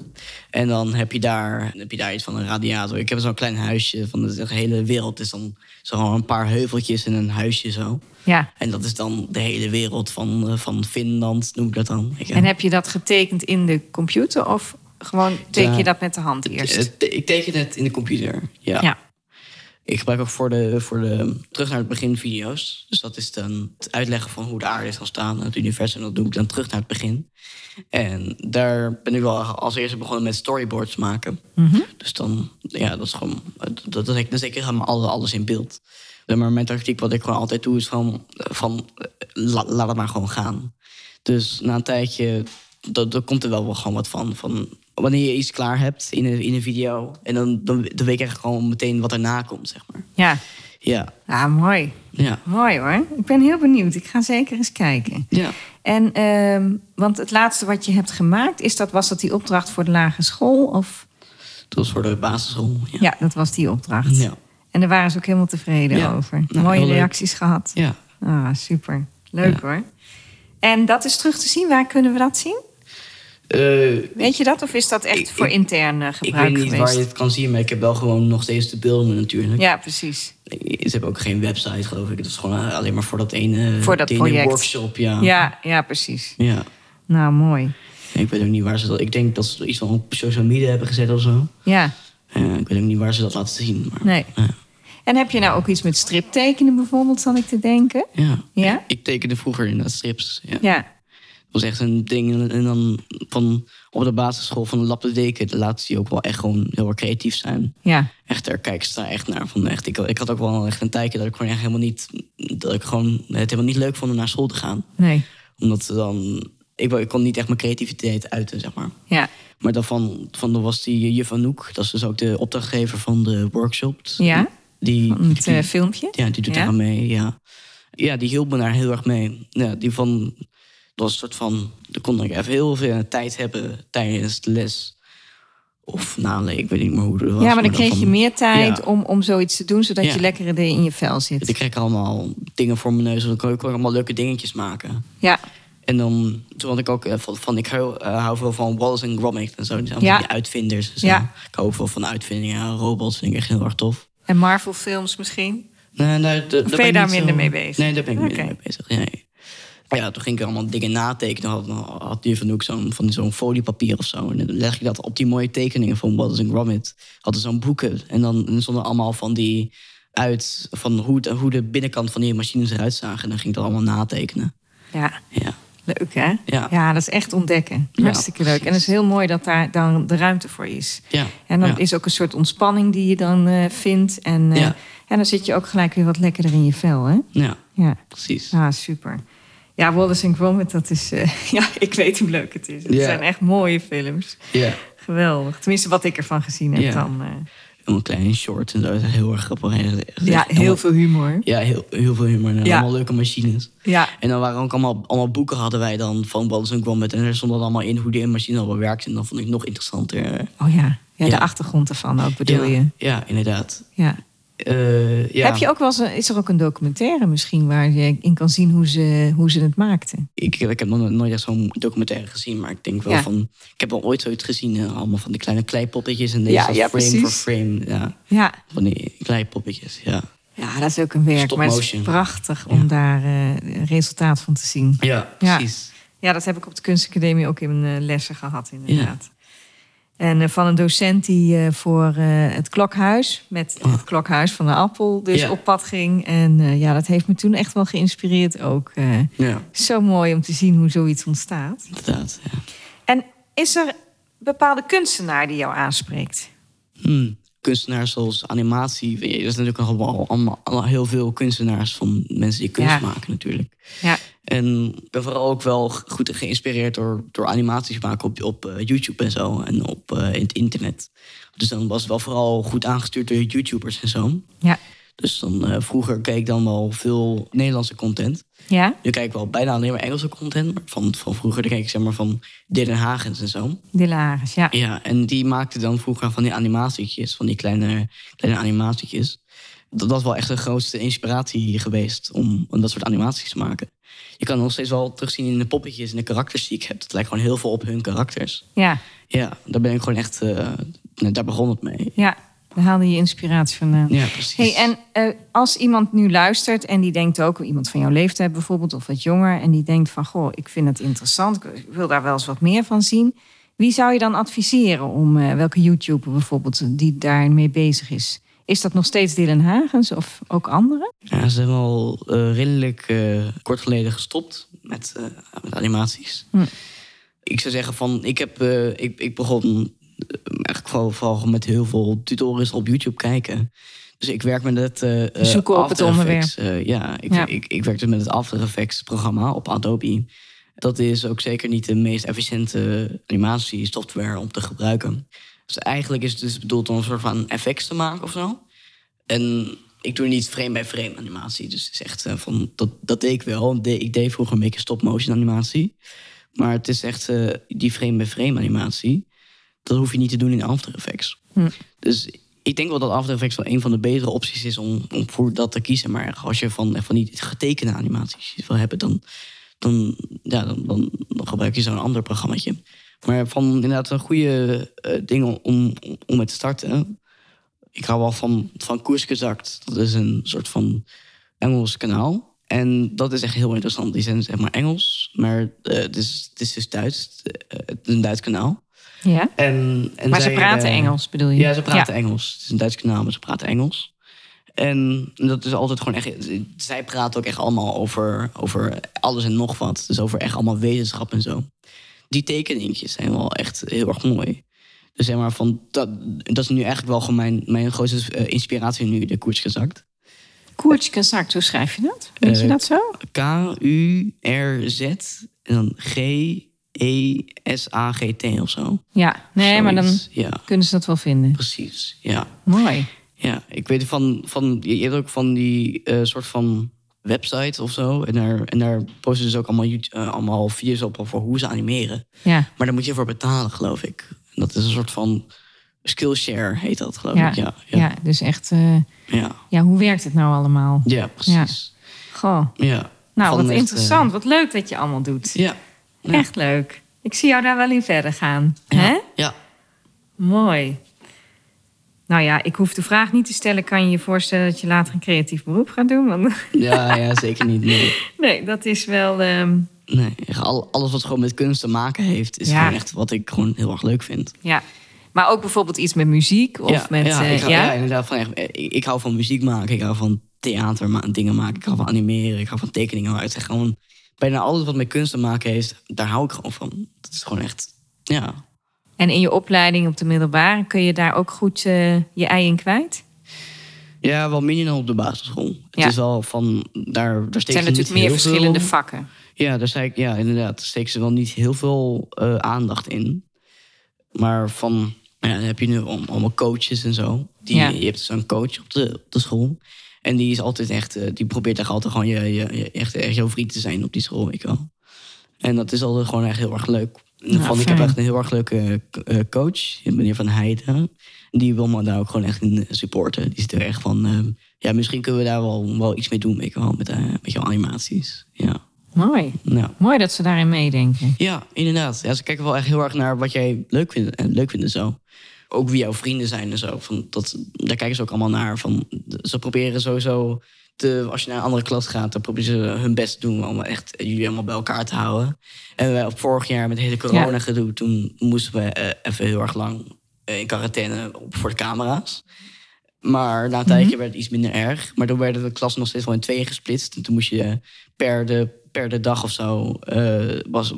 En dan heb je daar, heb je daar iets van een radiator. Ik heb zo'n klein huisje van de hele wereld. is dan zo'n een paar heuveltjes en een huisje zo.
ja.
En dat is dan de hele wereld van, eh, van Finland, noem ik dat dan. Ik,
En heb je dat getekend in de computer? Of gewoon teken je
Ja.
dat met de hand eerst?
Eh, ik teken het in de computer, ja.
Ja,
Ik gebruik ook voor de, voor de terug naar het begin video's. Dus dat is dan het uitleggen van hoe de aarde is ontstaan en het universum. Dat doe ik dan terug naar het begin. En daar ben ik wel als eerste begonnen met storyboards maken.
Mhm.
Dus dan, ja, dat is gewoon, dat, dat, dat, dan zet ik helemaal alles, alles in beeld. Maar mijn tactiek, wat ik gewoon altijd doe, is gewoon van, eh, la- laat het maar gewoon gaan. Dus na een tijdje, dat, dat komt er wel wel gewoon wat van. van wanneer je iets klaar hebt in een, in een video, en dan, dan, dan weet ik eigenlijk gewoon meteen wat erna komt, zeg maar.
ja.
Ja,
Ah, mooi.
ja,
Mooi hoor. Ik ben heel benieuwd. Ik ga zeker eens kijken.
ja.
En, ehm, want het laatste wat je hebt gemaakt, is dat, was dat die opdracht voor de lagere school? Of...
Dat was voor de basisschool. Ja,
Ja. dat was die opdracht.
Ja.
En daar waren ze ook helemaal tevreden
Ja.
over.
Nou,
Mooie
heel leuk.
reacties gehad.
ja.
Ah, super. Leuk hoor. En dat is terug te zien. Waar kunnen we dat zien?
Eh,
Weet je dat? Of is dat echt
Ik-
voor
ik-
intern eh,
ik
gebruik
weet niet
geweest?
waar je het kan zien, maar ik heb wel gewoon nog steeds de beelden natuurlijk. Eh,
Ja, precies.
Ze hebben ook geen website, geloof ik. Het is gewoon eh, alleen maar voor dat ene,
Voor dat
die ene
project.
workshop. Ja.
Ja, ja, precies.
ja.
Nou, mooi.
Ik weet ook niet waar ze dat... Ik denk dat ze iets van op social media hebben gezet of zo.
Ja,
Eh, ik weet ook niet waar ze dat laten zien. Maar,
nee.
eh,
En heb je nou ook iets met striptekenen bijvoorbeeld, zal ik te denken?
ja.
Ja?
Ik, ik tekende vroeger inderdaad strips. Ja.
Ja,
Dat was echt een ding. En dan van op de basisschool van de Lappendeken laat ze je ook wel echt gewoon heel erg creatief zijn.
ja.
echt er kijk ik sta echt naar van echt ik, ik had ook wel echt een tijdje dat ik gewoon echt helemaal niet dat ik gewoon het helemaal niet leuk vond om naar school te gaan
Nee.
omdat ze dan ik, wou- ik kon niet echt mijn creativiteit uiten zeg maar
Ja,
maar dan van, van dan was die juf Anouk dat is dus ook de opdrachtgever van de workshops
Ja?
die,
het
die-
eh, filmpje.
ja, die doet
Ja?
daar aan mee, ja. Ja, die hielp me daar heel erg mee. Ja, die van, dat was een soort van, dan kon ik even heel veel tijd hebben tijdens de les. Of na, nee, ik weet niet meer hoe het was.
Ja, maar dan kreeg je meer tijd
Ja.
om, om zoiets te doen, zodat
Ja.
je lekker in je vel
Dus ik
zit.
kreeg allemaal dingen voor mijn neus. en Dan kon ik ook allemaal leuke dingetjes maken.
Ja,
En dan, toen had ik ook eh, van, van ik hou, eh, hou veel van Wallace en Gromit en zo. Die, zijn
Ja.
die uitvinders. en zo.
Ja.
Ik hou ook veel van uitvindingen. Robots vind ik echt heel erg tof.
en Marvel-films misschien.
Nee, nee, d- daar
ben
ben
je
ik
daar
niet
minder
zo-
mee bezig?
Nee, daar ben ik minder
Oké.
mee bezig. Nee. Maar ja, toen ging ik allemaal dingen natekenen. Had, had die van ook zo'n van zo'n foliepapier of zo. En dan leg ik dat op die mooie tekeningen van Wallace en Gromit. Hadden zo'n boeken. En dan en er stonden allemaal van die uit van hoe, de- hoe de binnenkant van die machines eruit zagen. En dan ging ik dat allemaal natekenen.
Ja,
Ja,
leuk hè?
Ja.
dat is echt ontdekken.
Ja,
Hartstikke leuk. En het is heel mooi dat daar dan de ruimte voor is.
ja.
En dan
ja.
is ook een soort ontspanning die je dan eh, vindt. En, eh,
Ja.
en dan zit je ook gelijk weer wat lekkerder in je vel, hè?
Ja,
Ja,
precies.
ah, super. Ja, Wallace en Gromit, dat is... eh, (laughs) ja, ik weet hoe leuk het is. Het
Ja.
zijn echt mooie films.
Ja.
Geweldig. Tenminste, wat ik ervan gezien heb
Ja.
dan. eh,
Een klein short en zo. Dat is Heel erg grappig. Echt
ja,
echt
heel veel humor.
Ja, heel, heel veel humor. En
Ja.
allemaal leuke machines.
Ja.
En dan waren ook allemaal, allemaal boeken hadden wij dan van Wallace en Gromit. En er stond dan allemaal in hoe die machine allemaal werkt. En dat vond ik nog interessanter.
Oh ja, Ja,
Ja.
de achtergrond ervan ook bedoel
ja,
je.
ja, inderdaad.
Ja.
Eh, ja.
Heb je ook wel eens, een- is er ook een documentaire misschien waar je in kan zien hoe ze, hoe ze het maakten?
ik, ik heb nog nooit echt zo'n documentaire gezien, maar ik denk wel
Ja.
van... Ik heb wel ooit zoiets gezien, eh, allemaal van die kleine kleipoppetjes. En deze
Ja,
was
ja,
frame voor
precies.
frame. Ja,
Ja.
van die kleipoppetjes, ja.
Ja, dat is ook een werk.
Stop
maar het is
motion.
prachtig om daar eh, een resultaat van te zien.
Ja, precies.
Ja, dat heb ik op de kunstacademie ook in eh, lessen gehad, inderdaad. En eh, van een docent die eh, voor eh, het klokhuis, met het klokhuis van de appel, dus
Oh. Ja.
op pad ging. En eh, ja, dat heeft me toen echt wel geïnspireerd ook. eh.
Ja,
zo mooi om te zien hoe zoiets ontstaat.
inderdaad, ja.
En is er een bepaalde kunstenaar die jou aanspreekt?
Hmm. Kunstenaars zoals animatie. weet je, Er zijn natuurlijk allemaal, allemaal, allemaal heel veel kunstenaars van mensen die kunst
Ja.
maken natuurlijk.
Ja,
En ik ben vooral ook wel g- goed geïnspireerd door, door animaties maken op, op eh, YouTube en zo. En op eh, in het internet. Dus dan was het wel vooral goed aangestuurd door YouTubers en zo.
ja,
Dus dan eh, vroeger keek ik dan wel veel Nederlandse content.
ja.
Nu kijk ik wel bijna alleen maar Engelse content. Maar van, van vroeger dan keek ik zeg maar van Den Hagens en zo.
Dilaris, ja.
Ja, en die maakte dan vroeger van die animatietjes, van die kleine, kleine animatietjes. Dat was wel echt de grootste inspiratie geweest om, om dat soort animaties te maken. Je kan het nog steeds wel terugzien in de poppetjes en de karakters die ik heb. Het lijkt gewoon heel veel op hun karakters.
Ja,
Ja, daar ben ik gewoon echt, eh, nou, daar begon het mee.
ja. Daar haalde je inspiratie vandaan.
Ja, precies.
Hey, en eh, als iemand nu luistert en die denkt ook, iemand van jouw leeftijd bijvoorbeeld of wat jonger, en die denkt van goh, ik vind het interessant, ik wil daar wel eens wat meer van zien. Wie zou je dan adviseren om eh, welke YouTuber bijvoorbeeld die daarmee bezig is? Is dat nog steeds Dylan Hagens of ook anderen?
Ja, ze zijn wel eh, redelijk eh, kort geleden gestopt met, eh, met animaties.
Hm.
Ik zou zeggen van, ik, heb, eh, ik, ik begon eh, eigenlijk vooral, vooral met heel veel tutorials op YouTube kijken. Dus ik werk met het... eh, eh,
Zoeken op het
After
onderwerp.
Effects, eh, ja, ik,
Ja.
Ik, ik werk dus met het After Effects programma op Adobe. Dat is ook zeker niet de meest efficiënte animatiesoftware om te gebruiken. Dus eigenlijk is het dus bedoeld om een soort van effects te maken of zo. En ik doe niet frame bij frame animatie. Dus het is echt eh, van, dat, dat deed ik wel. De- Ik deed vroeger een beetje stop-motion animatie. Maar het is echt eh, die frame bij frame animatie. Dat hoef je niet te doen in After Effects. Dus ik denk wel dat After Effects wel een van de betere opties is om, om voor dat te kiezen. Maar als je van, van die getekende animaties wil hebben, dan, dan, ja, dan, dan, dan gebruik je zo'n ander programmaatje. Maar van inderdaad een goede eh, dingen om, om, om mee te starten ik hou wel van, van Koersgezakt. Dat is een soort van Engels kanaal. En dat is echt heel interessant. Die zijn zeg maar Engels, maar eh, het, is, het is dus Duits. Eh, het is een Duits kanaal.
Ja.
En, en
Maar ze
zij,
praten
eh,
Engels, bedoel je?
Ja, ze praten Engels. Het is een Duits kanaal, maar ze praten Engels. En dat is altijd gewoon echt... Zij praten ook echt allemaal over, over alles en nog wat. Dus over echt allemaal wetenschap en zo. Die tekeningetjes zijn wel echt heel erg mooi. Dus zeg maar van... Dat, dat is nu eigenlijk wel gewoon mijn, mijn grootste eh, inspiratie nu, de koers gezakt.
Koertje Kazak, hoe schrijf je dat? Weet je
Eh,
dat zo?
K-U-R-Z en dan E G-E-S-A-G-T of zo.
Ja, nee, maar dan
Zoiets. Ja,
kunnen ze dat wel vinden.
precies. Ja.
Mooi.
Ja, ik weet van, van je hebt ook van die eh, soort van website of zo. En daar, en daar posten ze dus ook allemaal, YouTube- eh, allemaal video's op over hoe ze animeren.
Ja,
Maar daar moet je voor betalen, geloof ik. En dat is een soort van Skillshare heet dat, geloof
ja,
ik.
ja,
Ja, ja,
dus echt, eh,
ja.
ja, hoe werkt het nou allemaal?
ja precies.
Goh.
Ja.
Nou,
Van
wat
echt, eh,
interessant. Wat leuk dat je allemaal doet.
ja. Ja.
Echt leuk. Ik zie jou daar wel in verder gaan. Hè?
Ja.
Mooi. Nou ja, ik hoef de vraag niet te stellen. Kan je je voorstellen dat je later een creatief beroep gaat doen? Want (laughs)
Ja, ja, (laughs) zeker niet. Nee.
nee, dat is wel... ehm,
nee. echt al- Alles wat gewoon met kunst te maken heeft, is
Ja.
gewoon echt wat ik gewoon heel erg leuk vind.
ja. Maar ook bijvoorbeeld iets met muziek of
ja,
met...
ja,
eh,
ik hou- ja? inderdaad. Van echt, ik, ik hou van muziek maken, ik hou van theater ma- dingen maken, ik hou van animeren, ik hou van tekeningen. Maar het is gewoon bijna alles wat met kunst te maken heeft, daar hou ik gewoon van. Dat is gewoon echt, ja.
En in je opleiding op de middelbare kun je daar ook goed eh, je ei in kwijt?
Ja, wel minder dan op de basisschool. Het
Ja.
is wel van, daar, daar steek
Er zijn
je niet
natuurlijk meer
heel
verschillende
veel-
vakken.
Ja, daar zei ik, ja, inderdaad. Daar steken ze wel niet heel veel eh, aandacht in. Maar van, nou ja, dan heb je nu al- allemaal coaches en zo. Die,
Ja.
Je hebt zo'n coach op de, op de school. En die is altijd echt, eh, die probeert echt altijd gewoon je, je, je- echt, echt jouw vriend te zijn op die school, weet je wel. En dat is altijd gewoon echt heel erg leuk. En dat
Nou,
vond ik heb
fijn.
echt een heel erg leuke eh, coach, meneer Van Heijden. Die wil me daar ook gewoon echt in eh, supporten. Die zit er echt van, eh, ja, misschien kunnen we daar wel, wel iets mee doen, weet je wel, met, eh, met jouw animaties. Ja,
Mooi.
nou.
Mooi dat ze daarin meedenken.
Ja, inderdaad. Ja, ze kijken wel echt heel erg naar wat jij leuk vindt en leuk vinden zo. Ook wie jouw vrienden zijn en zo. Van dat, daar kijken ze ook allemaal naar. Van, ze proberen sowieso, te, als je naar een andere klas gaat, dan proberen ze hun best te doen om echt jullie allemaal bij elkaar te houden. En wij, op vorig jaar met het hele corona gedoe, toen moesten we eh, even heel erg lang eh, in quarantaine op- voor de camera's. Maar na een tijdje werd het iets minder erg. Maar toen werden de klassen nog steeds wel in tweeën gesplitst. En toen moest je eh, per de, per de dag of zo... eh, was,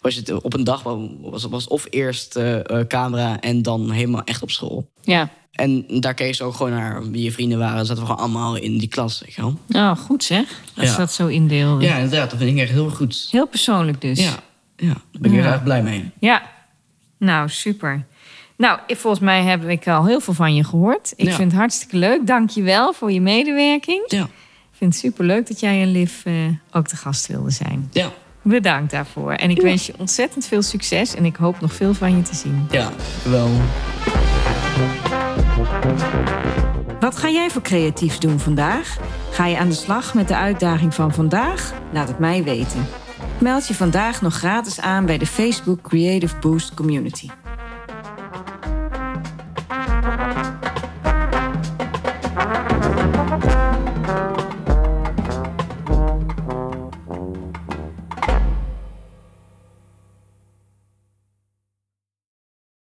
was het op een dag was, was of eerst eh, eh, camera en dan helemaal echt op school.
Ja.
En daar keek ze ook gewoon naar wie je vrienden waren. Zaten we gewoon allemaal in die klas, weet je wel.
Nou, goed zeg. Dat
Ja.
ze dat zo indeelden.
Ja, inderdaad. Dat vind ik echt heel goed.
Heel persoonlijk dus.
Ja, ja daar ben ik
Ja.
heel erg blij mee.
Ja. Nou, super. Nou, ik- volgens mij heb ik al heel veel van je gehoord. Ik
Ja.
vind het hartstikke leuk. Dank je wel voor je medewerking.
Ja,
Ik vind het super leuk dat jij en Liv eh, ook te gast wilden zijn.
ja,
Bedankt daarvoor. En ik wens je ontzettend veel succes en ik hoop nog veel van je te zien.
ja. Wel.
Wat ga jij voor creatiefs doen vandaag? Ga je aan de slag met de uitdaging van vandaag? Laat het mij weten. Meld je vandaag nog gratis aan bij de Facebook Creative Boost Community.